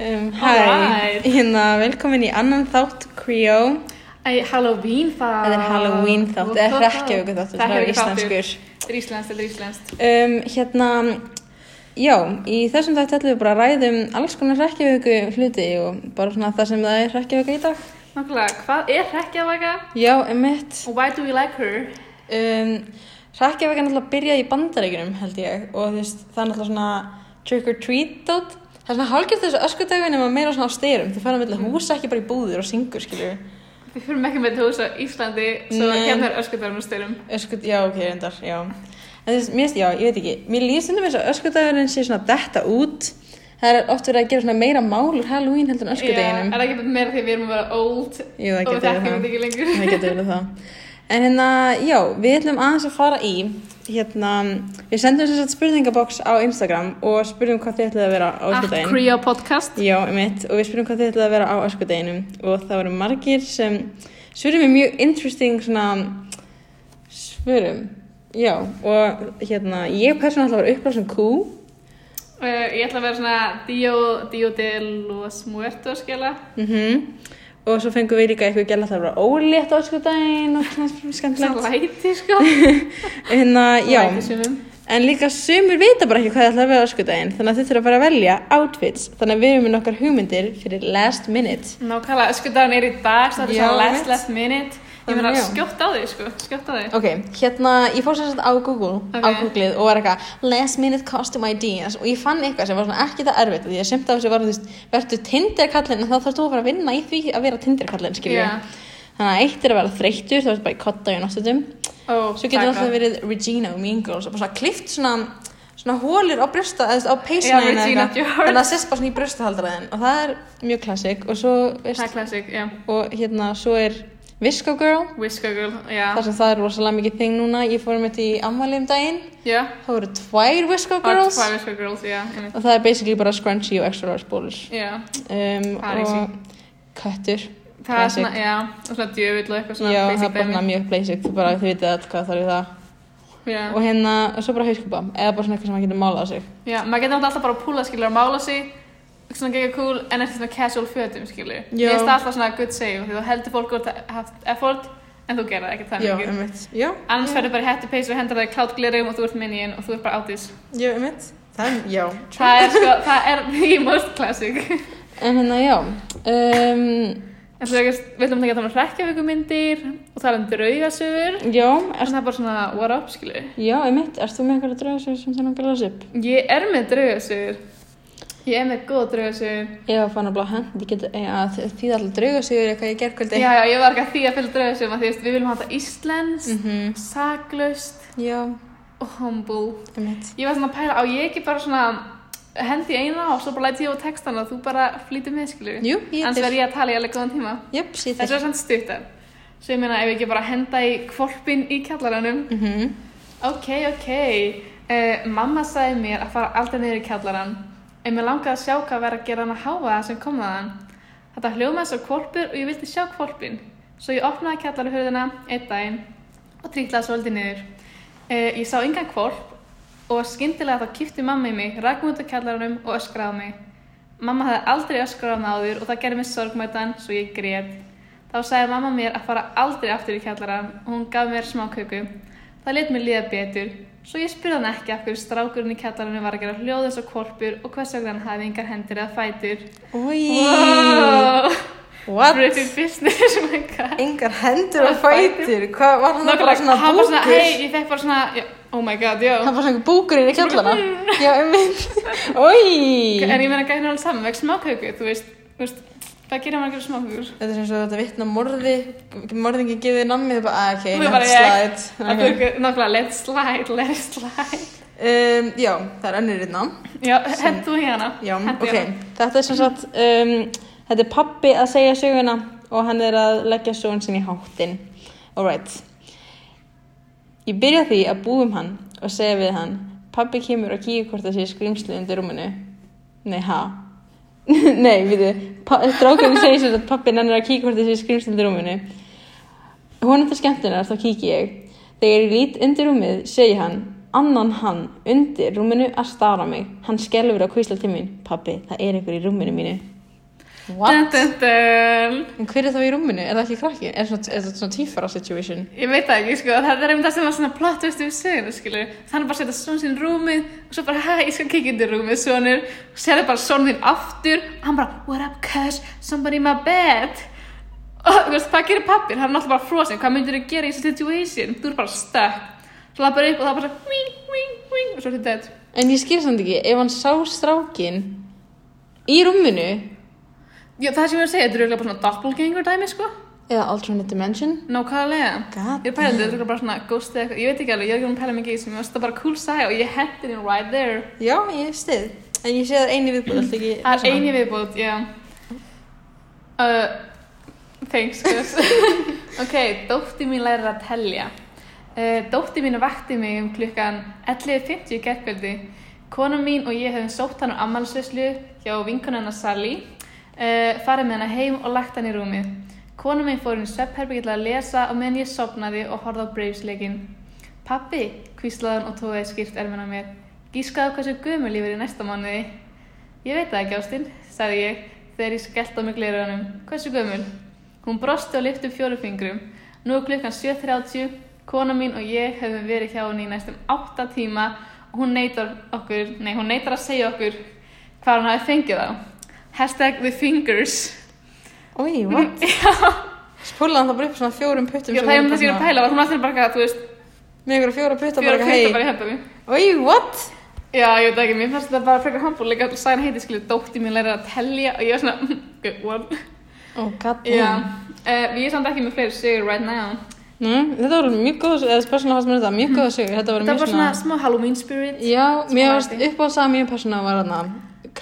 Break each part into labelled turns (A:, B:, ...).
A: Um, Hérna, velkomin í annan þátt Creo
B: Æ, Halloween það
A: Þetta er Halloween Ah, þátt, eða hrekkjavöku þáttur, það er íslenskur
B: Þetta er íslenskt, þetta er íslenskt
A: um, Hérna, já, í þessum þátt ætlum við bara að ræða um alls konar hrekkjavöku hluti og bara svona það sem það er hrekkjavöka í dag
B: Nákvæmlega, hvað er hrekkjavaka?
A: Já, emitt
B: Og why do we like her?
A: um, Hrekkjavöka náttúrulega byrjaði í bandaríkunum held ég og þú veist, það er náttúrulega svona trick or treat dot Það er svona hálgjörð þessu öskutögu nema meira svona á styrum Þú færum milli húsa ekki bara í búður og syngur, skilur
B: Við fyrir ekki með þetta hús á Íslandi Svo
A: Nei.
B: hérna er öskubjörnum styrum
A: Öskut, já, ok, reyndar, já. En þess, mér, já, ég veit ekki, mér líst þetta með þess að öskudagurinn sé svona detta út. Það er oft verið að gera svona meira mál úr Halloween heldur en
B: Er
A: öskudaginum.
B: það ekki meira því að við erum að vera old
A: Jú, það
B: Og
A: getur
B: við þekkjum
A: verið
B: þetta ekki lengur
A: Það getur verið það. En hérna, já, við ætlum aðeins að fara í, hérna, við sendum þess að spurningaboks á Instagram og spurðum hvað þið ætlið að vera á
B: Ah,
A: öskudaginn.
B: Creo podcast
A: Já, emitt, og við spurðum hvað þið ætlaði að vera á öskudeginum og það voru margir sem svörum við mjög interesting svona svörum, já, og hérna, ég persónulega ætla að vera upplásin kú,
B: Uh, Ég ætla að vera svona Dio, Dio de los Muertos skjala
A: mhm, og svo fengum við líka eitthvað gæla það að vera ólétt á öskudegin og svona
B: Svona
A: skemmtilegt,
B: læti sko
A: hérna, já,
B: Læti sumum.
A: en líka sumir vita bara ekki hvað þið ætlaði að vera á öskudegin, þannig að þið þurfa bara að velja outfits, þannig að við erum með nokkar hugmyndir fyrir last minute.
B: Nákvæmlega, sko, öskudagen er í dag, svo þetta er
A: Já,
B: svona last
A: mitt.
B: last minute. Ég
A: Þannig
B: meina,
A: já.
B: skjótt á þig, sko, skjótt á þig.
A: Ok, hérna, ég fór sem sagt á Google,
B: Ok.
A: á Google og var eitthvað last minute costume ideas og ég fann eitthvað sem var svona ekki það erfitt því að semt af þessu var, þú veist, verður tindirkallin en þá þarfst þú að fara að vinna í því að vera tindirkallin, skiljum
B: Já.
A: Þannig að eitt er að vera þreyttur, þá ertu bara í kotta í náttúttum.
B: Ó,
A: Svo getur
B: taka.
A: alltaf verið Regina og Mean Girls og bara svona klift svona, svona hólir á brjósta, eða þú veist, á peysina
B: Já,
A: þína
B: Regina
A: eitthvað.
B: George.
A: Þannig að það sérst bara svona í brjóstahaldaraðin og það er mjög klassik og svo,
B: Það er
A: veist,
B: klassik, já.
A: og hérna, svo er Visco Girl
B: Whisker girl, já.
A: þar sem það er rosalega mikið þing núna ég fór mitt í ammali um daginn
B: Já.
A: það voru tvær Whisko Girls
B: Það er Whisker girls, já. einmitt.
A: og það er basically bara scrunchy og extra large bólur
B: Já.
A: um,
B: Það er easy.
A: og köttur
B: Það er
A: classic.
B: svona, já, og svona djövill og eitthvað svona
A: já, það
B: basic
A: er bara svona
B: dæmi.
A: mjög basic þú bara, þið vitið allt hvað þarf í það
B: Já.
A: og hérna, og svo bara hauskupa eða bara svona eitthvað sem maður getur málað á sig
B: Já, maður getur náttúrulega alltaf bara að púla, skilur, að mála sig, svona gegja cool, en eftir svona casual fötum, skilur.
A: Já.
B: Ég veist það alltaf svona good save, því þú heldur fólk úr að haft effort, en þú gerir ekki það
A: já,
B: mikið.
A: einmitt já,
B: Annars ferðu bara í hættu peysu og hendar það í klátt glirrum og þú ert minion og þú ert bara átis.
A: já, einmitt það er, já
B: Það er sko, það er the most classic.
A: en hérna, já um,
B: En svo ekki, við ætlum ekki að tala um hrekkjavökumyndir og tala um draugasögur.
A: já,
B: En
A: er,
B: það er bara svona, what up, skilu?
A: já, einmitt erst þú með einhverja draugasögur sem þannig að gæla upp?
B: Ég er með draugasögur. Ég er með góð draugasögur.
A: Ég var fann að blá hendi, ég geti að þýða alltaf drauga sigur eitthvað ég gerkvöldi.
B: Já, já, ég var ekki að því að fylgja draugasögum að því veist, við viljum hafa þetta íslenskt,
A: Mhm. Mm.
B: saklaust
A: Já,
B: og humble.
A: einmitt.
B: Ég var svona að pæla, á ég ekki bara svona hendi í eina og svo bara læti ég á textana og þú bara flýtir með, skilu?
A: Jú, ég
B: Annars
A: til.
B: verð ég að tala í alveg góðan tíma.
A: Jöps, ég
B: Þetta
A: til.
B: er svona stuttar. Svo ég meina, ef ég ekki bara henda í kvolpin í kjallaranum,
A: Mhm.
B: Ok, ok. Uh, mamma sagði mér að fara aldrei niður í kjallarann. En mér langaði að sjá hvað verið að gera hann að háa það sem kom að hann. Þetta hljómaði svo kvolpur og ég vildi sjá kvolpin. Svo ég opnaði kjallarhurðina einn daginn og trítlaði svolítið niður. Uh, ég sá engan kvolp og skyndilega þá kýfti mamma í mig, rak mig út á kjallaranum og öskraði á mig. Mamma hafði aldrei öskrað á mig áður og það gerði mig sorgmætan svo ég grét. Þá sagði mamma mér að fara aldrei aftur í kjallarann og hún gaf mér smáköku. Það let mér líða betur, svo ég spurði hann ekki af hverju strákurinn í kjallarannu var að gera hljóð eins og korpur og hvers vegna hann hafði engar hendur eða fætur.
A: Úi,
B: Wow!
A: what?
B: British business, oh my god.
A: Engar hendur og
B: Og fætur.
A: fætur, hvað var hann bara svona
B: hann var svona,
A: búkur?
B: hei, ég fekk bara svona, já, oh my god, já.
A: Hann var svona búkurinn í kjallana. Já, einmitt. Úi.
B: En ég meina gæði hann alveg saman, vekk smáköku, þú veist, þú veist, hvað gerir maður að gera smákökur?
A: Þetta er sem svo þetta vittna morði, morðingi gefið nammið, bara, ah, ok,
B: Þú er bara,
A: let's
B: ég-
A: slide.
B: Það
A: Ok.
B: tók nákvæmlega, let it slide, let it slide.
A: Um, já, það er önnur hérna.
B: Já, hendu hérna.
A: Já,
B: Hentu
A: ok.
B: hérna.
A: Þetta er sem sagt, um, þetta er pappi að segja söguna og hann er að leggja sögun sinni í háttin. Alright. Ég byrja því að búa um hann og segja við hann, pappi kemur og kíkir hvort það sé skrimsli undir rúminu. Nei, ha? Nei, við þið, strákurinn segir sér að pappi nennir að kíkja hvort það sé skrimsli undir rúminu. Honum til skemmtunar þá kíki ég. Þegar ég lít undir rúmið segi hann, annan hann undir rúminu að stara á mig. Hann skelfur að kvísla til mín. Pappi, það er einhver í rúminu mínu. What?
B: Dun, dun, dun.
A: En hver er það í rúminu? Er það ekki krakkin? Er það er það svona tífara situation?
B: Ég veit það ekki, sko, það er um það sem var svona plott veist við söguna, skilur. Þannig bara setja svona sín í rúmið og svo bara, hæ, ég skal kikið inn í rúmið, sonur. Og serði bara sonur þín aftur og hann bara, what up, cuz, somebody in my bed. Og þú veist, hvað gerir pappin? Hann er alltaf bara frosin, hvað myndir þú gera í þessu situation? Þú er bara stökk. Svo lappar upp og það bara, wing, wing, wing, og svo er þetta dead.
A: En ég skil samt ekki, ef hann sá strákin í rúminu
B: Já, það sem ég var að segja, þetta er eiginlega bara svona doppelganger dæmi, sko.
A: eða alternate dimension
B: Nákvæmlega.
A: God
B: Ég er pælið, þetta er bara svona ghost eða eitthvað, ég veit ekki alveg, ég er ekki búin að pæla mikið í þessu, mér finnst þetta bara cool sæ og ég hendi þín right there.
A: Já, ég stið En ég sé það eini viðbúð, alltaf ekki
B: Það er eini viðbútt, já. Uh, thanks, guys. ok, dótti mín lærir að telja. Uh, dótti mín vakti mig um klukkan 11.50 í gerðkvöldi. Konan mín og ég hefum sótt hann á ammalsveislu hjá vinkunan hennar Sally, uh, farið með hennar heim og lagt hann í rúmið. Konan mín fór inn í sveppherbergi til að lesa og meðan ég sopnaði og horfði á Braves-leikin. Pappi, hvíslaði hann og tóði skýrt erfina mér. Gískaðu hversu gömul ég verið næsta mánuði. Ég veit það ekki, Ástin, sagði ég þegar ég skellt á mig glerunum. Hversu gömul? Hún brosti og lyfti upp fjórufingrum. Nú er klukkan 7.30, kona mín og ég höfum verið hjá henni í næstum 8 tíma og hún neytar okkur, nei, hún neytar að segja okkur hvað hún hafi fengið þá. Hashtag the fingers.
A: Oi, what? Spúlaði hann það bara upp svona fjórum puttum
B: Já,
A: sem voru
B: það er
A: bara
B: um þess að ég er að
A: svona-
B: pæla, var hún allir bara, eitthvað, þú veist,
A: Með einhverja fjóra putta
B: fjóra
A: bara
B: kvölda bara
A: hei
B: í hendunum.
A: Oi, what?
B: Já, ég veit ekki, mér fannst þetta bara frekar handbúrleika og sæðan heiti, skilur, dótti mín læra að telja og ég var svona, good one.
A: Oh, god damn.
B: Já, uh, við erum samt ekki með fleiri sigur right now.
A: Nei, þetta voru mjög góð, eða spesuna fannst mér þetta, mjög góða sögur, þetta voru
B: Þetta
A: mjög
B: var svona smá Halloween spirit.
A: Já, mér varst
B: væti.
A: upp á það að mjög persóna var þarna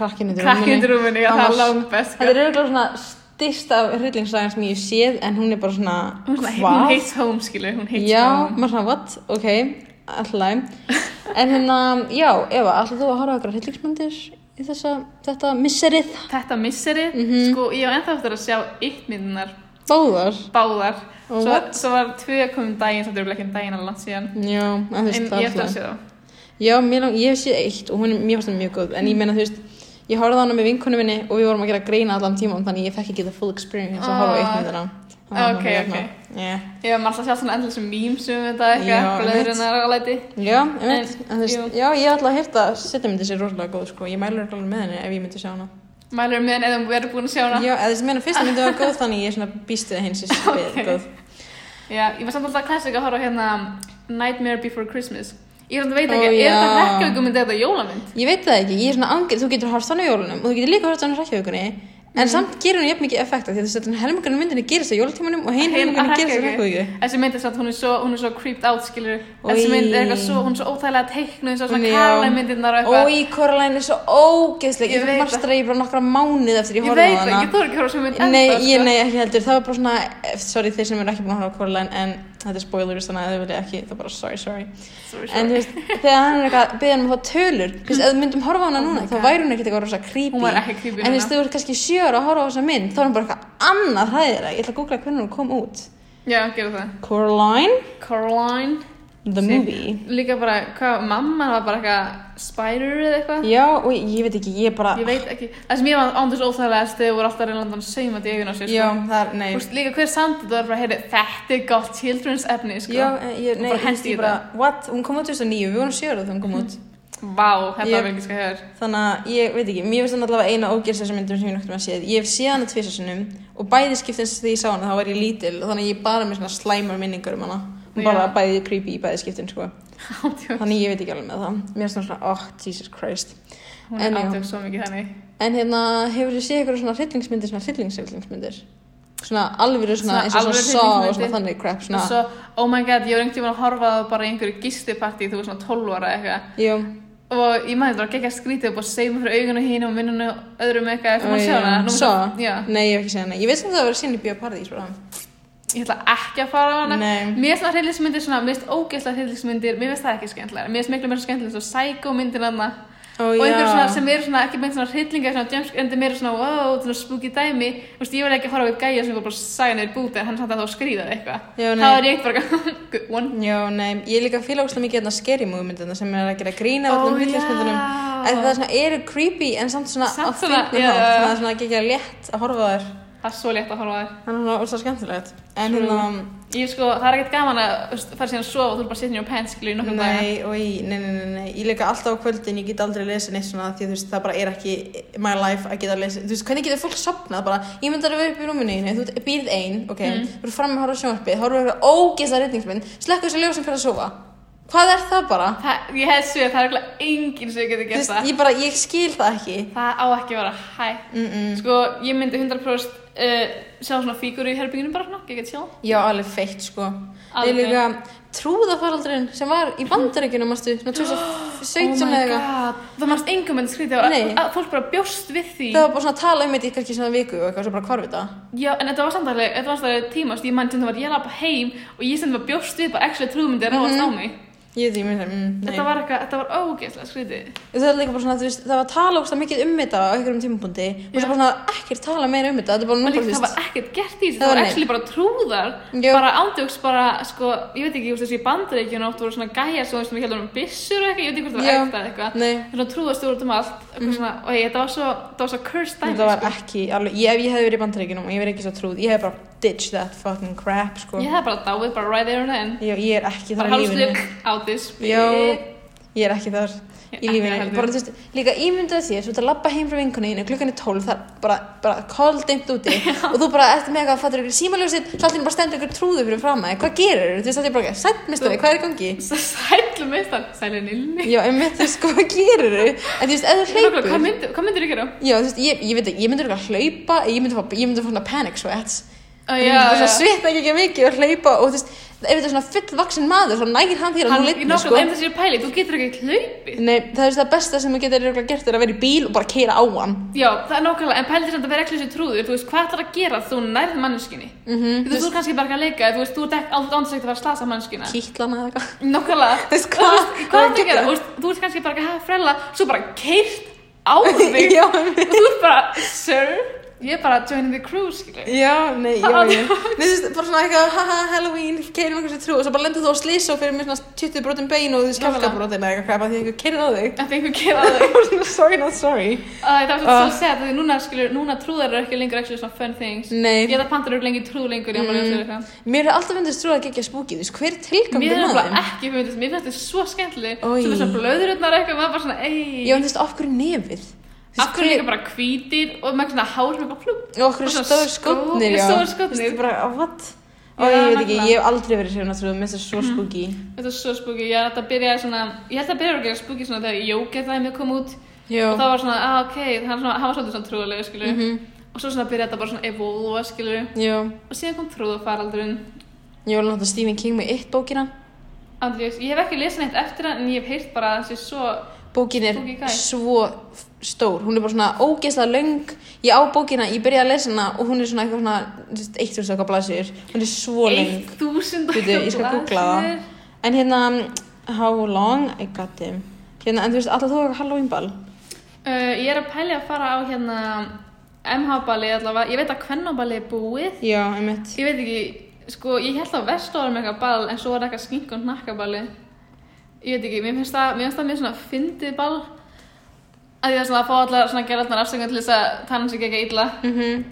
A: krakkinn undir rúminni.
B: Krakkið drúminni, já, það er langt best.
A: Þetta er auðvitað svona styrst af hryllingssagan sem ég hef séð en hún er bara svona,
B: Hún hates home, skilur, hún hates
A: Já,
B: home.
A: maður svona, what? Ok, alltaf. En hérna, já, Eva, ætlaðu þú að horfa okkar hryllingsmyndir í þessa, þetta misserið?
B: Þetta misseri,
A: Mhm.
B: sko, ég var ennþá eftir að sjá eitt myndunar,
A: Báðar?
B: báðar.
A: Og
B: Svo,
A: what?
B: svo var tvö komin daginn, svo þetta er ekki en daginn alveg langt síðan.
A: Já, en þú
B: En
A: veist,
B: ég eftir
A: alltaf-
B: að sjá það.
A: Já, mér, lang- ég hef séð eitt og hún er mjög fast mjög góð en ég meina þú veist, ég horfði á hana með vinkonu minni og við vorum að gera greina allan tíman þannig ég fekk ekki the full experience að horfa á eitt
B: Ah.
A: með þarna
B: Ok,
A: hérna. yeah.
B: Ég var alltaf að sjá svona endalsum memes um þetta
A: Já,
B: eitthvað, blöðurinnar og læti.
A: Já, ég veit,
B: En,
A: en þú
B: jú.
A: veist, já, ég ætla að hérta að setja myndi sér rosalega góð sko, ég mælur alveg með henni ef ég myndi sjá hana
B: Mælur með henni eða við erum búin að sjá hana.
A: Já, eða þessi meina fyrst myndi var góð þannig ég er svona býstið að hins er
B: Ok.
A: góð
B: Já, ég var samt alltaf klassik að horfa á hérna Nightmare Before Christmas. Ég er alltaf veit
A: Ó,
B: ekki, er þetta
A: já.
B: rekkaugumynd eða jólamynd?
A: Ég veit það ekki, ég er svona angið, þú getur hort þannig á jólunum og þú getur líka hort þannig hrækjavíkunni en
B: Mhm.
A: samt gerir hún jafn mikið effekta því að þess að helmingarnir myndinni gerist á jólatímanum og hin
B: Hin að
A: helmingarnir gerist á
B: hrekkjavöku.
A: hrækjavíku
B: Þessi mynd er samt, hún er svo, hún er svo creeped out, skilur.
A: Oj.
B: Þessi mynd er eitthvað svo, hún er svo óþægilega teiknuð, eins og svona
A: Já.
B: karlæmyndirnar og eitthvað.
A: Ói, Coraline er svo ógeðsleg
B: Ég
A: Ég
B: veit
A: marst að ég bara nokkra mánuð eftir ég
B: Ég
A: horfði á
B: veit það,
A: hana
B: ég þóra ekki að horfa á sem mynd
A: Nei,
B: ennþá,
A: ég
B: sko.
A: nei ekki heldur, það var bara svona eh, Sorry, þeir sem eru ekki búin að horfa á Coraline En þetta er spoilers, þannig að þau vilja ekki Það er bara sorry, sorry
B: Sorry,
A: En þú
B: sorry.
A: veist, þegar hann er eitthvað að beða um að fá tölur Þú veist, ef við myndum horfa á hana
B: Oh
A: núna
B: my
A: Þá
B: God.
A: væri hún ekkert eitthvað rosa creepy
B: Hún var ekki creepy
A: En þú
B: núna.
A: veist, þau eru kannski sjö ára að horfa á þessa mynd Þá er hún bara eitthvað annað hræðilega Ég ætla að googla hvernig hún kom út
B: Já, gerðu það.
A: Coraline,
B: Coraline.
A: the
B: Sí.
A: movie
B: Líka bara, hvað, mamman var bara eitthvað spider eða eitthvað.
A: Já, og ég veit ekki, ég bara
B: Ég veit ekki. Það sem ég var ándur svo óþægilegast þegar voru alltaf að reyna að láta hann sauma þetta í augun á sér, sko.
A: Já, það er, nei
B: Þú veist, líka hver samt þetta var bara, heyri, þetta er gott children's efni, sko.
A: Já, eh, ég,
B: Og
A: nei,
B: bara hendi
A: ég
B: í
A: bara, what, hún kom út 2009, við vorum sjöra þegar hún kom út.
B: Vá, þetta
A: Ég-
B: var ekki sko hér.
A: Þannig að ég veit ekki, mér finnst þannig allavega eina ógjörst þessar myndum sem ég nokkur með séð. Ég hef séð hana tvisasunum og bæði skiptin sem því ég sá hana þá var ég lítil og þannig að ég er bara með svona slæmar minningar um hana. Hún
B: Já.
A: bara bæði creepy í bæði skiptin, sko. Þannig ég veit ekki alveg með það. Mér finnst svona, oh, Jesus Christ.
B: Hún
A: En
B: er
A: já.
B: átök svo mikið þannig.
A: En hérna, hefur þið séð ykkur svona hryllingsmyndir, svona hryllingsmyndir? Svona alvöru svona,
B: Svona
A: eins og svona
B: alvöru
A: sá og
B: hryllingsmyndir?
A: svona þannig crap,
B: Og
A: svona,
B: svo, oh my god, ég var einhvern tímann að horfa á bara í einhverju gistiparti, þú veist svona 12 ára eða eitthvað.
A: jú,
B: Og ég maður þetta var ekki að skrítið og bara segjum fyrir augunum hínu og minnunu og öðrum eitthvað, eftir
A: Ó,
B: maður sjá
A: já.
B: hana. Nú,
A: Saw?
B: Já.
A: Nei, ég hef ekki séð hana. Ég veist að það var sinni bioparadís bara.
B: Ég ætla ekki að fara á hana.
A: Nei.
B: Mér finnst það hryllismyndir svona, mér finnst ógeðslega hryllismyndir, mér finnst það ekki skemmtilega. Mér finnst miklu mér skemmtilega svo psycho myndir hana.
A: Ó,
B: og einhver
A: já.
B: svona sem eru svona ekki beint svona hryllingar svona jumpscare en þeim eru svona wow, svona spooky dæmi þú veist, ég var ekki að horfa á gæja sem var bara að saga niður búti en hann samt að þá skrýða eitthvað
A: Já, nei.
B: þá er ég bara eitthvað one
A: Já, nei, ég líka fíla óslega mikið þarna scary movie myndina sem er að gera grína
B: Ó,
A: oh, öllum hlutleikmyndunum
B: já.
A: að það svona eru creepy en samt svona á
B: Samt svona,
A: fyndnum
B: já.
A: hátt, þannig að það er svona ekki ekki létt að horfa á þær
B: það er svo létt að horfa á þér
A: þannig að það er óslega skemmtilegt en hérna,
B: ég sko, það er ekkert gaman að þú veist, fara síðan að sofa og þú er bara sittin í og pensklu í nokkrum dagar
A: nei, oi, nei, nei, nei, nei ég líka alltaf á kvöldin, ég get aldrei lesið neitt svona því að þú veist, það bara er ekki my life að geta lesið, þú veist, hvernig getur fólk sopnað bara, ég myndar að vera upp í rúminu einu, þú ert- býrð ein, ok,
B: Mm.
A: þú eru fram að horfa á sjónvarpið, horfa á ógeðslega reyningsmynd, slekka þessu ljósin fyrir að sofa hvað er það bara?
B: Það- ég hef svið, það er eitthvað enginn sem getur
A: Þú
B: gert
A: veist,
B: það
A: ég bara, ég skil það ekki
B: það á ekki að vera hægt
A: mm -mm.
B: sko, ég myndi 100% uh, sjá svona fígur í herbygginu bara svona, ekki að sjá
A: Já, alveg feitt sko Ég
B: Alveg.
A: líka trúðafaraldurinn sem var í bandaríkjunum, mástu, ná 2017 eða
B: Oh my
A: eitthvað
B: god, það mannst engum en skrítið að,
A: Nei.
B: að fólk bara bjóst við því
A: Það var bara svona að tala um þetta í kannski svona viku og eitthvað svo bara hvarfið það
B: já, en þetta var samtalið, þetta var samtalið tíma þú veist, ég mann sem það var ég lappa heim og ég sem það var bjóst við bara ekki trúðmyndið að ráðast á mig
A: Ég veit ekki, mér sem, mm, Mhm. nei
B: þetta var eitthvað, þetta var ógeðslega skrítið
A: Það var líka bara svona, þú veist, það var að tala ógst mikið um þetta á einhverjum tímapunkti og
B: Já.
A: svo bara svona ekkert tala meira um þetta, þetta er bara
B: og
A: núna
B: líka það
A: bara,
B: var ekkert gert í
A: Það
B: þessu,
A: var
B: það var
A: nei.
B: actually bara trúðar
A: Já.
B: bara ándjóks bara, sko, ég veit ekki, þú veist, þessi bandaríkjun oft voru svona gæjar svo sem við heldum um byssur og eitthvað, ég veit ekki hvort það
A: Já.
B: var ekta
A: þú veist
B: eða eitthvað
A: Nei, Mhm.
B: svona trúðast úr út um allt, eitthvað svona, og ég, þetta var svo það var svo cursed dæmi,
A: þetta var ekki alveg, ég, ef ég hefði verið í bandaríkjunum og ég verið ekki svo trúð, ég hefði bara ditch that fucking crap, sko
B: ég hef bara dáið, bara right there and then
A: Ég, ég er ekki
B: bara
A: þar í lífinu
B: hálfslip out this
A: Já,
B: bitch.
A: ég er ekki þar
B: Ég
A: í
B: ekki
A: lífinu.
B: heldur.
A: Bara, þú veist, líka ímyndaðu þér, þú ert að labba heim frá vinkunni þínu, klukkan er 12, það er bara, bara koldimt úti og þú bara ert með eitthvað að fattur ykkur símaljósið, hláttinn bara stendur ykkur trúðu fyrir framæði, hvað gerir þú? veist, þetta er bara, ekki, sætt mistari, hvað er í gangi?
B: S- sælu mistan, sælu nilni
A: Já, en mitt, þú veist, sko, hvað gerir þú? En þú veist, ef þú
B: Nákvæmlega,
A: hleypur,
B: hvað myndir, hvað myndir þú gera?
A: já, þú veist, ég, ég veit ekki, ég myndi örugglega hlaupa, ég myndi fá, ég myndi fá svona panic sweats,
B: Uh,
A: ég myndi bara svona svitna ekki mikið og hlaupa og þú veist, ef þetta er svona fullvaksin maður, þá nægir hann þér að
B: Hann,
A: þú
B: ég
A: leipur, sko.
B: nákvæmlega, ef þessi er pæli, þú getur ekki hlaupið.
A: Nei, það er það besta sem þú getur örugglega gert er að vera í bíl og bara keira á hann.
B: Já, það er nákvæmlega, en pælið samt að vera ekki þessi trúður, þú veist, hvað ætlar að gera þú nærð manneskinni?
A: Mm -hmm.
B: Þú veist, þú er kannski bara ekki að leika, þú veist, þú ert ekki áður ándsegt að fara að slasa manneskina.
A: Kýtlana eða eitthvað. Þú
B: Nákvæmlega,
A: veist, hvað?
B: hvað er það að gera? Þú veist, þú ert kannski bara ekki að hafa frella, svo bara keirt á þig
A: Já,
B: og þú ert bara, sir, ég er bara joining the crew, skilur.
A: já, nei, já,
B: Það-
A: já. Nei, þú veist, bara svona eitthvað, haha, Halloween, keirum einhversu trú og svo bara lendur þú á slís og fyrir mér svona 20 brotin bein og þú veist
B: Nákvæmlega.
A: kjálkabrotin eða eitthvað bara því að einhver keirir á þig.
B: Þetta einhver gera þig.
A: sorry, not sorry.
B: Æ, Það var svolítið
A: Ah.
B: svo að segja því núna, skilur, núna trúðar eru ekki lengur actually svona fun things.
A: Nei. Mm.
B: Ég held að pandur eru lengi trú lengur, ég maður ljósið eitthvað.
A: Mér er alltaf fundist trú að gegja spúkið, þú veist, hver er
B: Mér
A: tilgangur
B: er
A: með
B: bara
A: þeim?
B: ekki fundist, mér finnst þetta svo skemmtileg.
A: Oj.
B: Svo þessar blöðurutnar eitthvað, maður bara svona,
A: Já, en þú
B: ei.
A: veist, af hverju nefið? Þú veist,
B: Af hverju
A: hver-
B: líka bara hvítir og með svona hár með bara flúpp.
A: Og okkur
B: Og svona
A: stóður
B: skó-
A: skotnir, já.
B: stórir skórnir.
A: Þú veist, bara, oh, what? Ó,
B: Já,
A: ég veit ekki,
B: nákvæmlega.
A: ég hef aldrei verið hrifin að trúðum, mér finnst það svo spooky.
B: Þetta er svo spooky, ég held að byrja svona, ég held að byrja að gera spooky svona þegar Jóker dæmi kom út.
A: Já. Mhm.
B: Og það var svona, ah, ok, hann, svona, hann var svolítið svona trúðarlegu, skilur. Og svo svona byrja þetta bara svona evolva, skilur.
A: Já,
B: Og síðan kom trúðarfaraldurinn.
A: ég var náttúrulega Stephen King með eitt bókina.
B: Andrés, ég hef ekki lesið neitt eftir hann, en ég hef heyrt bara að það sé svo
A: Bókin er
B: Spooky guy.
A: svo f- stór, hún er bara svona ógeðslega löng, ég á bókina, ég byrjaði að lesa hana og hún er svona eitthvað svona, þú veist, 1000 okkar blasir, hún er svo löng.
B: 1000
A: Býtu, ég skal googla það. En hérna, how long, I got him. Hérna, en þú veist, alltaf þú hefur Halloween ball.
B: Uh, ég er að pælja að fara á hérna MH-balli allavega, ég veit að kvennaballi er búið.
A: Já, einmitt.
B: Ég veit ekki, sko, ég held að vestu var með eitthvað ball en svo var eitthvað skink og hnakkaballi. Ég veit ekki, mér finnst það, mér finnst það mér svona fyndið ball. Að því það er svona að fá allar svona gera allar afsöngum til þess að tannan sig ekki illa.
A: Mm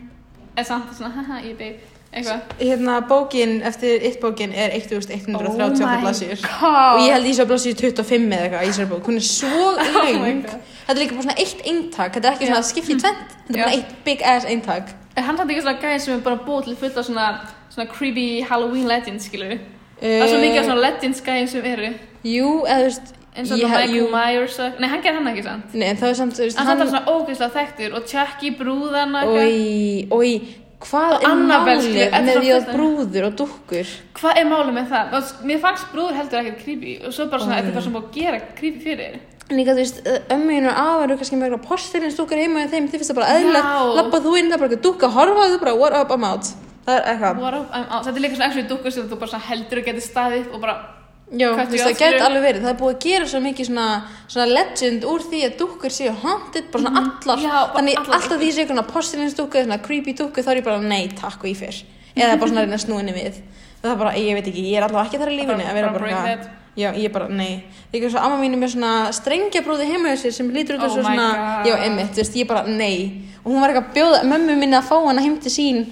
B: En samt svona, haha, ég beig, eitthvað.
A: Hérna, bókin, eftir eitt bókin er 1138
B: Oh
A: okkar blasir.
B: god.
A: Og ég held í svo blasir 25 eða eitthvað í þessari bók, hún er svo löng.
B: Oh god.
A: þetta er líka bara svona eitt eintak, þetta er ekki svona skipt í tvent, þetta er bara
B: Já.
A: eitt big ass eintak.
B: Er hann samt ekki svona gæði sem er bara búið til fullt af svona, svona creepy Halloween legends, skilur Það er
A: Eh.
B: svo mikið af svona legends gæðin sem eru
A: Jú, eða þú veist
B: eins og
A: ég-
B: það Michael
A: jú,
B: Myers og- Nei, hann gerði hann ekki sant
A: Nei, en það er samt, þú veist
B: Hann samt er svona ógeðslega þekktur og Chucky brúðan og eitthvað.
A: Ói, ói, hvað
B: Og
A: er
B: Annabelle,
A: málið
B: skilur, þetta er
A: með
B: svo
A: því að
B: fullt af-
A: brúður og dukkur?
B: Hvað er málið með það? Og s- Mér fannst brúður heldur ekkert creepy og svo bara svona,
A: Oj.
B: þetta er bara svona búið að gera creepy fyrir þér
A: En Líka, þú veist, ömmuðin og afar eru kannski með eitthvað postilins dukkar heima en þeim, þið finnst það bara eðlilegt,
B: Já.
A: labba þú inn, það er bara eitthvað dukka, horfa þú bara, what up, I'm out. Það er eitthvað.
B: What up, I'm out Þetta er líka svona actually dukkur sem þú bara svona heldur að geta staðið upp og bara
A: Já,
B: Hvað
A: þú veist,
B: ættu
A: það
B: að
A: gæti
B: skilja?
A: alveg verið, það er búið að gera svo mikið svona, svona legend úr því að dúkkur séu haunted, bara svona allar,
B: Mhm. Já, bara
A: þannig
B: allar.
A: alltaf því séu svona porcelains-dúkku, svona creepy dúkku, þá er ég bara nei, takk og í fyrr, eða bara svona að reyna að snúinni við, það er bara, ég veit ekki, ég er allavega ekki þar í lífinni að vera bara,
B: Bara break
A: eitthvað- já, ég er bara, nei, líka svo amma mín er með svona strengjabrúði heima hjá sér sem lítur út
B: Oh
A: af svo
B: my
A: svona,
B: God.
A: já, emmitt, þú veist, ég bara, nei, og hún var eitthvað að bjóða mömmu minni að fá hana heim til sín,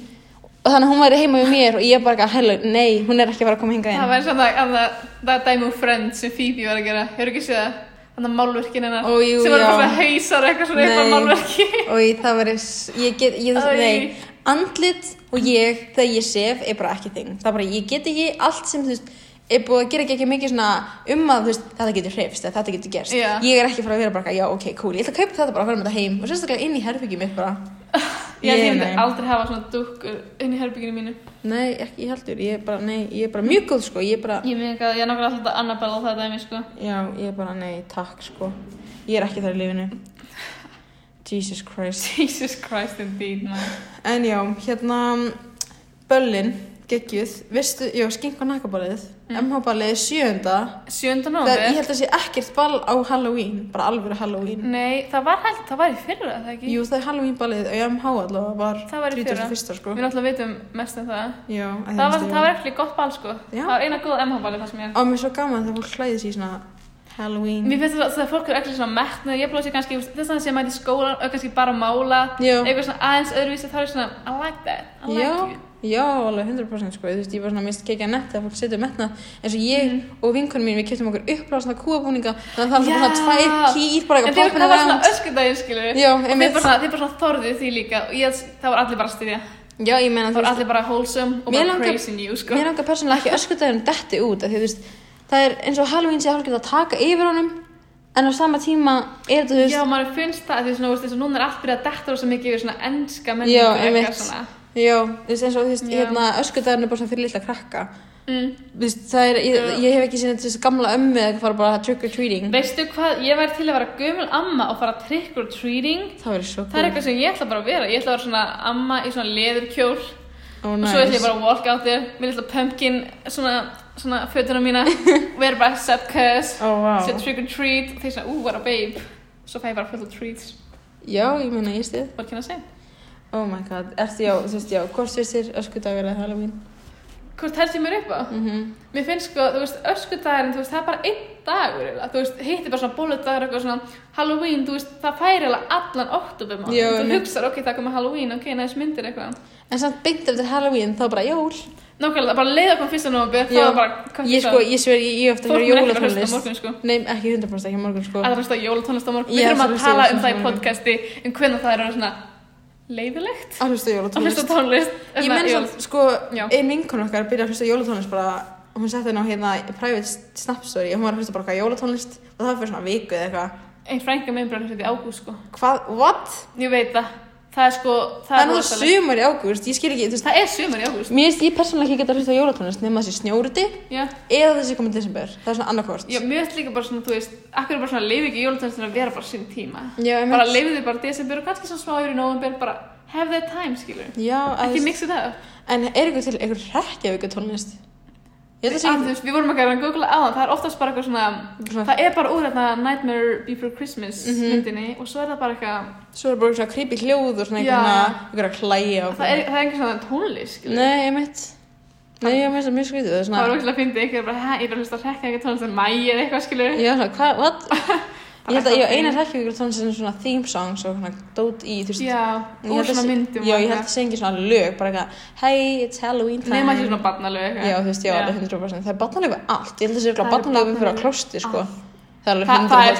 A: og þannig að hún væri heima hjá mér og ég bara eitthvað, hello, nei, hún er ekki að fara að koma hingað inn.
B: Það var svona að það, það dæmi úr Friends sem Phoebe var að gera, hefur ekki séð það? Þannig að málverkin hennar,
A: Ó, jú,
B: sem var
A: já.
B: bara svona hausar eitthvað svona
A: Nei.
B: eitthvað málverki.
A: og það var ég get, ég,
B: Æ.
A: nei, andlit og ég þegar ég sef er bara ekki þing það er bara, ég get ekki allt sem þú veist er búið að gera ekki mikið svona um að þú veist, þetta getur hrifst eða þetta getur gerst
B: Já.
A: ég er ekki frá að vera bara, eitthvað, já ok, cool ég ætla að kaupa þetta bara og fara með þetta heim og sérstaklega inn í herfingið mitt bara
B: Ég held ég myndi
A: nei.
B: aldrei hafa svona dúkkur inn í herbygginu mínu.
A: nei, ekki ég heldur, ég er bara, nei, ég er bara mjög góð sko, ég er bara,
B: Ég myndi ekki að, ég er nákvæmlega alltaf þetta Annabelle á það dæmi, sko.
A: já, ég er bara, nei, takk sko ég er ekki þar í lifinu Jesus Christ
B: Jesus Christ indeed, man.
A: En já, hérna Böllin, geggjuð Vistu, já, skink og nakkaballið
B: Mm.
A: MH-ballið sjönda Þegar ég
B: 7. november?
A: held að sé ekkert ball á Halloween Bara alvöru Halloween
B: Nei, það var held, það var í fyrra, það Mm. ekki?
A: Jú, það er Halloween ballið á MH allavega var
B: Það var í fyrra.
A: 31. sko
B: Við náttúrulega vitum mest um það.
A: Já, en
B: Það var,
A: veist, ég-
B: það var ekkert gott ball, sko.
A: Já.
B: Það var eina góð MH-balli, það sem ég
A: Á, mér er svo gaman þegar fólk klæði sig í svona Halloween
B: Mér finnst það að fólk eru ekkert svona metnað, ég blóði sér kannski, þú veist, þess að það sé að mæta í skólan og kannski bara að mála,
A: Já.
B: eitthvað svona aðeins öðruvísi, þá er ég svona, I like that, I like
A: Já,
B: you.
A: já, alveg 100% sko, þú veist, ég var svona mist kekja nett þegar fólk setur metna, eins og ég
B: Mm.
A: og vinkunum mín, við keftum okkur uppblásna kúabúninga, þannig að það var svona
B: Já.
A: tvær kýr, bara
B: En
A: eitthvað
B: þeir-
A: poppin'
B: það var svona
A: around.
B: öskudaginn, skilur
A: Já,
B: Þeir
A: einmitt.
B: bara, svona- þeir bara svona þorðið því líka og ég, það voru allir bara að styðja.
A: Já, ég meina,
B: Það
A: þú
B: voru
A: veist,
B: allir bara wholesome og
A: Mér
B: bara
A: langar-
B: crazy new, sko.
A: Mér langar persónulega ekki öskudagurinn detti út af því þú veist, það er eins og Halloween sé að hálfgeta að taka yfir honum en á sama tíma er þetta þú veist
B: Já, maður finnst það, því svona, þú veist, þess að núna er allt byrjað að detta rosa mikið yfir svona enska menningu
A: Já,
B: eitthvað
A: einmitt.
B: svona.
A: Já, þú veist eins og þú veist,
B: Já.
A: hérna, öskudagurinn er bara svona fyrir litla krakka
B: Mm.
A: Þú veist, það er, ég,
B: Já.
A: ég hef ekki sinni þessi gamla ömmu eða eitthvað fara bara trick or treating
B: Veistu hvað, ég væri til að vera gömul amma og fara trick or treating
A: Það verður svo
B: Það er eitthvað sem ég ætla bara að vera. Ég ætla að vera svona amma í svona leðurkjól
A: oh,
B: og
A: nice.
B: svo ætla ég bara að walk out there með litla pumpkin svona, svona fötuna mína vera bara set cuss,
A: Ó, vá.
B: set trick or treat og þeir svona, ú, what a babe. Svo fæ ég bara full of treats.
A: Já, ég meina, ég stið
B: What can I say?
A: Oh my god, ertu já, þú veist, já, hvort finnst þér öskudagur eða Halloween?
B: Hvort helst ég mér upp á?
A: Mhm.
B: Mér finnst sko, þú veist, öskudagurinn, þú veist, það er bara einn dagur eiginlega. Þú veist, hitti bara svona bóludagur eitthvað svona Halloween, þú veist, það færi eiginlega allan oktober
A: Já,
B: Þú
A: einmitt.
B: hugsar, ok, það komið Halloween, ok, næst myndir eitthvað.
A: En samt beint eftir Halloween, þá bara jól
B: Nákvæmlega, bara leiða kom fyrsta november, þá
A: Já.
B: er bara, hvað
A: Ég sko, ég sver, ég, ég ofta
B: Fólk
A: að
B: mun
A: höra
B: ekki að hlusta á
A: jólatónlist
B: morgun sko
A: Nei, ekki 100% ekki á morgun sko
B: Allra hlusta á jólatónlist á morgun Við
A: Ég
B: þurfum
A: ætla
B: að
A: að hlusta
B: tala um
A: á jólatónlist á
B: það í
A: morgun.
B: podcasti um hvernig það er orðið svona leiðilegt
A: Að hlusta á
B: að hlusta
A: jólatónlist
B: á tónlist
A: Ég menn
B: Svona
A: samt, sko,
B: Já.
A: ein vinkun okkar byrjaði að hlusta á jólatónlist bara Hún setti henni á hérna private snap story og hún var að hlusta bara eitthvað á jólatónlist og það var fyrir svona viku eða eitthvað
B: Ein frænka minn bara hlusta í ágúst sko
A: Hvað, what?
B: Ég veit það Það er sko
A: Það er nú
B: rosalegt.
A: sumar í ágúst, ég skil ekki, þú veist
B: Það er sumar í ágúst
A: Mér finnst ég persónulega ekki geta hlusta á jólatónlist nema þessi snjóruti
B: Já
A: eða þessi komið desember, það er svona annarkvort
B: Já, mjög líka bara svona, þú veist, akkur er bara svona leifið ekki jólatónlistin að vera bara sinn tíma
A: Já, einmitt.
B: Bara leifið þið bara desember og kannski svona smá yfir í november bara have that time, skilur
A: Já, að,
B: Ekki mixa það upp
A: en er eitthvað til eitthvað rekkjavöku tónlist? Ég held að
B: Að, þú
A: segja,
B: veist, við vorum ekki að googla á það, það er oftast bara eitthvað svona,
A: Svona-
B: það er bara úr þetta Nightmare Before Christmas
A: Mhm.
B: myndinni og svo er það bara eitthvað,
A: svo er bara eitthvað creepy hljóð og svona
B: Já.
A: eitthvað að hlæja og
B: það er, það er einhver svona tónlist, skilur.
A: Nei, ég mitt Nei, ég mitt að mjög skrítið Það er
B: Það var
A: svona,
B: ógæslega að fyndi eitthvað bara, hæ, ég er að hlusta að rekka eitthvað tónlist en mæ eða eitthvað, skilur.
A: ég var svona, hvað, what? Ég held að ég á
B: eitthvað
A: eina
B: fínt.
A: rekki ykkur tónlist sem er svona theme songs og svona dót í, þú veist
B: Já,
A: Ég
B: úr
A: held að
B: svona
A: sé-
B: myndum
A: Já, ég held að segja ekki svona lög, bara eitthvað Hey, it's Halloween time
B: Nefna ekki svona barnalög eitthvað.
A: Já, þú veist, já, alveg 100% Það er barnalegu allt, ég held að það sé
B: Það er
A: barnalegu fyrir að
B: barnalög. Ah.
A: klósti, sko Það er alveg
B: Það, það er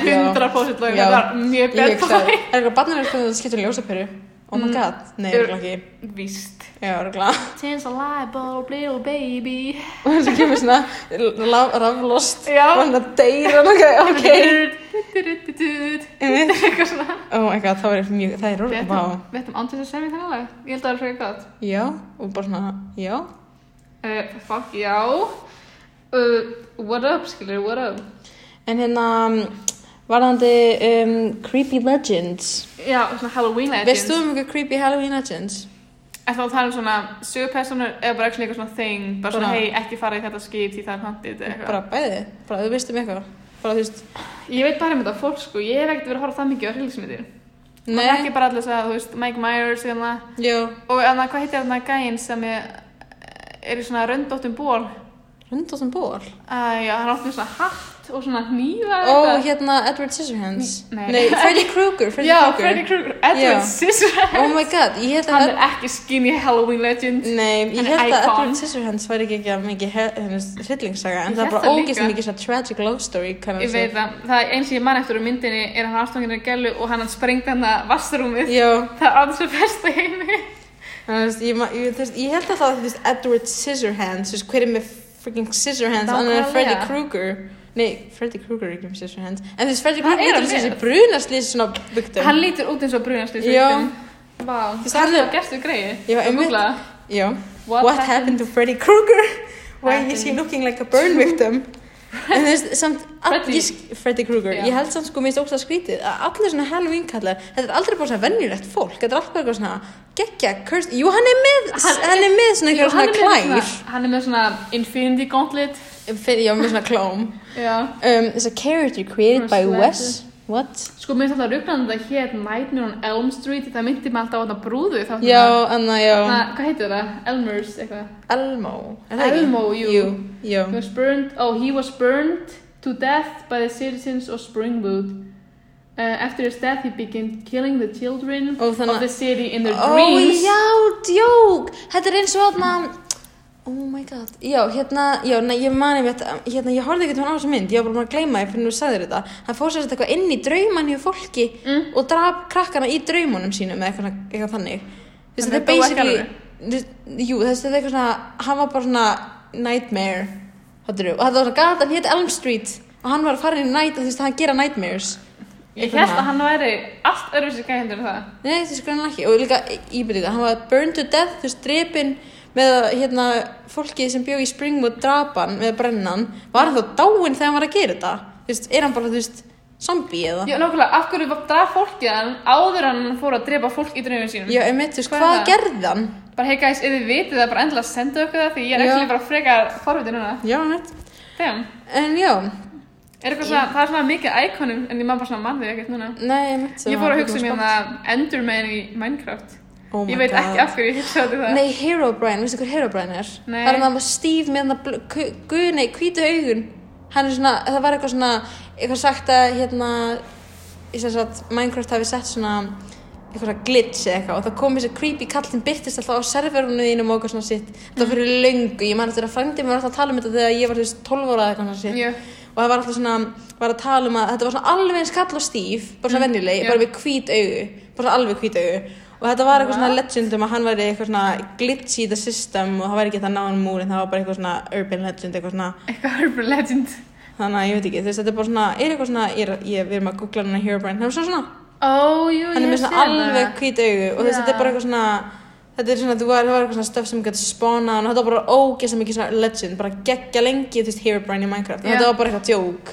A: 100% já.
B: 100% lög,
A: Já.
B: það var mjög
A: Ég
B: björn
A: hugsa, það er eitthvað barnalegu sko það skiptur í ljósaperu Oh my
B: Mm.
A: god, nei,
B: Ör-
A: örugglega ekki
B: Víst.
A: Já, örgulega
B: Tins a liable little baby.
A: Og þess að kemur svona la- raflost
B: Já.
A: Og hann að deyra, ok, ok
B: Dudududududud.
A: Einmitt.
B: Eitthvað svona.
A: Oh my god, það var mjög, það er orðið,
B: Við
A: vá.
B: ættum- við ættum andis að semja þennan lag. Ég held að það er frekar gott.
A: Já, og bara svona, já.
B: Uh, fuck, já. Uh, what up, skilur, what up?
A: En hérna, um, varðandi um, Creepy Legends.
B: Já, svona Halloween legends.
A: Veist þú um eitthvað Creepy Halloween Legends?
B: Er þá að tala um svona sögupersonur eða bara actually eitthvað svona thing, bara svona
A: Bara-
B: hei, ekki fara í þetta skip því það er handið eða eitthvað.
A: bara bæði, bara þú veist um eitthvað bara þú veist,
B: Ég veit bara um þetta fólk sko, ég hef ekkert verið að horfa það mikið á hrilsmyndir. Nei.
A: nei,
B: Ekki bara allir að, þú veist, Mike Myers hérna. eða það.
A: jú
B: Og eða hvað heitir þarna gæinn sem er, er í svona röndóttum ból?
A: hundar sem bor
B: Uh, já, hann átti með svona hatt og svona hnífa
A: og hérna Edward Scissorhands
B: Nei.
A: nei, Freddy Krueger Freddy
B: Já,
A: Krueger.
B: Freddy Krueger,
A: Já.
B: Edward Scissorhands.
A: oh my god, ég held
B: Hann
A: að
B: er ekki skinny Halloween legend.
A: Nei, ég
B: Hann er
A: held að
B: icon.
A: Edward Scissorhands væri ekki ekki mikið hryllingssaga en
B: Ég
A: það er
B: hélt
A: bara
B: það líka.
A: ógeðslega mikið svona tragic love story kind of
B: Ég veit það, það er eins og ég man eftir úr myndinni er hann ástofnir í gælu og hann sprengt hann að vastrúmið.
A: Já,
B: Það er alls að besta heimi.
A: en þú veist, ég, ma- ég, þú veist, ég held að það þú veist, Edward Scissorhands, þú veist, hver er með freaking Scissorhands annar en
B: Nákvæmlega.
A: Freddy Krueger Nei, Freddy Krueger er ekki með Scissorhands en þú veist, Freddy
B: Hann
A: Krueger
B: er
A: er
B: að
A: þessi
B: með.
A: brunaslýs svona bygtum
B: Hann lítur út eins og brunastlýs.
A: Já.
B: Vá,
A: veist,
B: það
A: hann
B: er
A: er-
B: svo gerstu greið.
A: Já, einmitt. Já, what, happened to Freddy Krueger? Why is he
B: Happened.
A: looking like a burn victim? En þú veist, samt
B: Freddy.
A: allir, sk- Freddy Krueger,
B: Já.
A: ég held samt sko mér stókst að skrítið að allir svona Halloween kallar, þetta er aldrei bara svona venjulegt fólk, þetta er alltaf eitthvað svona geggja, cursed, jú hann er með,
B: Hann-
A: hann, er með svona
B: Jú,
A: eitthvað svona
B: hann, er með
A: klær,
B: svona, hann er með svona Infinity Gauntlet.
A: fyrir, já, með svona klóm.
B: Já.
A: Um, it's a character created by
B: Svona
A: Wes, what?
B: Sko, mér finnst alltaf rugglandi að hér Nightmare on Elm Street, það myndi mig alltaf á þetta brúðu. þá-
A: Já, anna,
B: Þarna,
A: já,
B: hvað heitir það? Elmers, eitthvað.
A: Elmo, er það ekki?
B: Elmo, jú.
A: Jú, jú.
B: He was burned, oh, he was burned to death by the citizens of Springwood. Uh, after his death, he began killing the children
A: Ó, þannig
B: of
A: að-
B: the city in their
A: Ó,
B: dreams.
A: já, djók Þetta er eins og aðna Oh my god, já, hérna, já, nei, ég mani mitt, hérna, ég horfði ekkert hún á þessu mynd, ég var bara búin að gleyma því fyrir þú sagðir þetta, hann fór sér þetta eitthvað inn í drauman hjá fólki
B: Mm.
A: og draf krakkana í draumunum sínum eða eitthvað, svona- eitthvað þannig. Þú veist,
B: Þannig
A: þetta
B: að
A: er
B: dó ekki
A: basically, þú- jú, þessi, þetta er eitthvað svona, hann var bara svona nightmare, hattur þú, og þetta var svona gatan, hétt Elm Street og hann var að fara inn í night, þú veist, hann gera nightmares.
B: Ég held að hann væri allt öðruvísi gæðindur en það.
A: Nei, þessi grannlega ekki og líka íbyrðið, hann var burned to death þú veist, drepin með að, hérna, fólkið sem bjóð í Springwood drapan með brennan, var hann þá dáinn þegar hann var að gera þetta, þú veist, er hann bara þú veist, zombie eða?
B: Já, nákvæmlega, af hverju draf fólkið hann áður en hann fór að drepa fólk í draugum sínum?
A: Já, einmitt, þú veist,
B: Hvað er
A: hvað
B: það?
A: gerði hann?
B: Bara, hey guys, ef þið vitið það, bara endilega senda okkur það, því ég er
A: Já.
B: ekki bara frekar forvitið núna.
A: Já, einmitt,
B: Damn.
A: en já
B: Er eitthvað svona, það er svona mikið íkonum, en ég man bara svona mann þau ekkert núna.
A: Nei, einmitt sem
B: Ég fór
A: hann
B: að hugsa
A: kom
B: mér um
A: spott.
B: það Enderman í Minecraft.
A: Oh my
B: ég veit
A: God.
B: ekki af hverju ég hugsaði út í það.
A: Nei, Herobrine, veistu hver Herobrine er?
B: Nei.
A: Það er hann að Steve með hann að gu, gu, nei, hvítu augun Hann er svona, það var eitthvað svona eitthvað sagt að hérna ég sem sagt, Minecraft hafi sett svona eitthvað svona glitch eða eitthvað og það kom þessi creepy kallinn byrtist alltaf á serverunum þínum og eitthvað svona sitt þetta
B: Mhm.
A: var fyrir löngu, ég man eftir að frændi mér var alltaf að tala um þetta þegar ég var þú veist 12 ára eða eitthvað svona sitt
B: Já.
A: og það var alltaf svona, var að tala um að þetta var svona alveg eins kall og stíf bara svona
B: Mm,
A: venjuleg,
B: já.
A: bara með hvít augu bara svona alveg hvít augu og þetta var eitthvað svona legend um að hann væri eitthvað svona glitch í the system og það væri ekki það náðan múr en það var bara eitthvað svona urban legend eitthvað svona
B: Eitthvað urban legend.
A: þannig að ég veit ekki, þú veist þetta er bara svona er eitthvað svona, ég, er- ég, við erum að googla hann að Herobrine hann er svona svona,
B: Ó, jú,
A: hann er
B: ég
A: með
B: sé
A: svona
B: það.
A: alveg hvít augu og þú veist
B: Já.
A: þetta er bara eitthvað svona þetta er svona, þú var, það var eitthvað svona stöf sem gæti spána og þetta var bara ógeðslega mikið svona legend bara geggja lengi, þú veist, Herobrine í Minecraft
B: Já.
A: yeah. þetta var bara eitthvað djók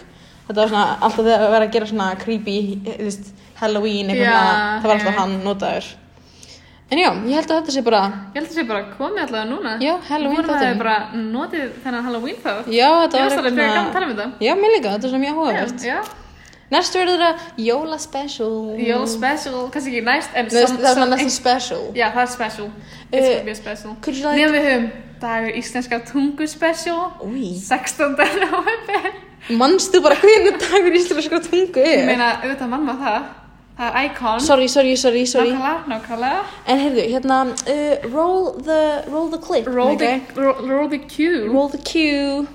A: þetta var svona, alltaf þegar að vera að gera svona creepy, þú veist, Halloween eitthvað
B: Já,
A: svona, það var alltaf
B: já.
A: hann notaður en já, ég held að þetta sé bara
B: Ég held að það sé bara komið allavega núna.
A: Já, Halloween
B: þáttum. Við vorum
A: þátturinn.
B: að bara notið þennan Halloween þátt.
A: já, þetta
B: Ég
A: var
B: veist alveg fyrir gaman að tala um þetta.
A: já, mér líka, þetta er svona mjög hóðavert
B: Já,
A: Næst verður það Jóla special
B: jól special, kannski ekki næst, en
A: Nei, Það
B: samt-
A: er
B: samt-
A: svona næstum special
B: Já, það er special. It's
A: Eh,
B: gonna be a special.
A: could you like-
B: Nefnum við höfum dagur íslenska tungu special,
A: Új
B: 16. november.
A: Manstu bara hvernig dagur íslenska tungu
B: Ég
A: er?
B: meina, auðvitað mamma það. Það er icon.
A: Sorry, sorry, sorry, sorry
B: Nákvæmlega, nákvæmlega.
A: En heyrðu, hérna uh, roll, the, roll the clip
B: Roll,
A: okay?
B: the, roll, roll the cue.
A: roll the cue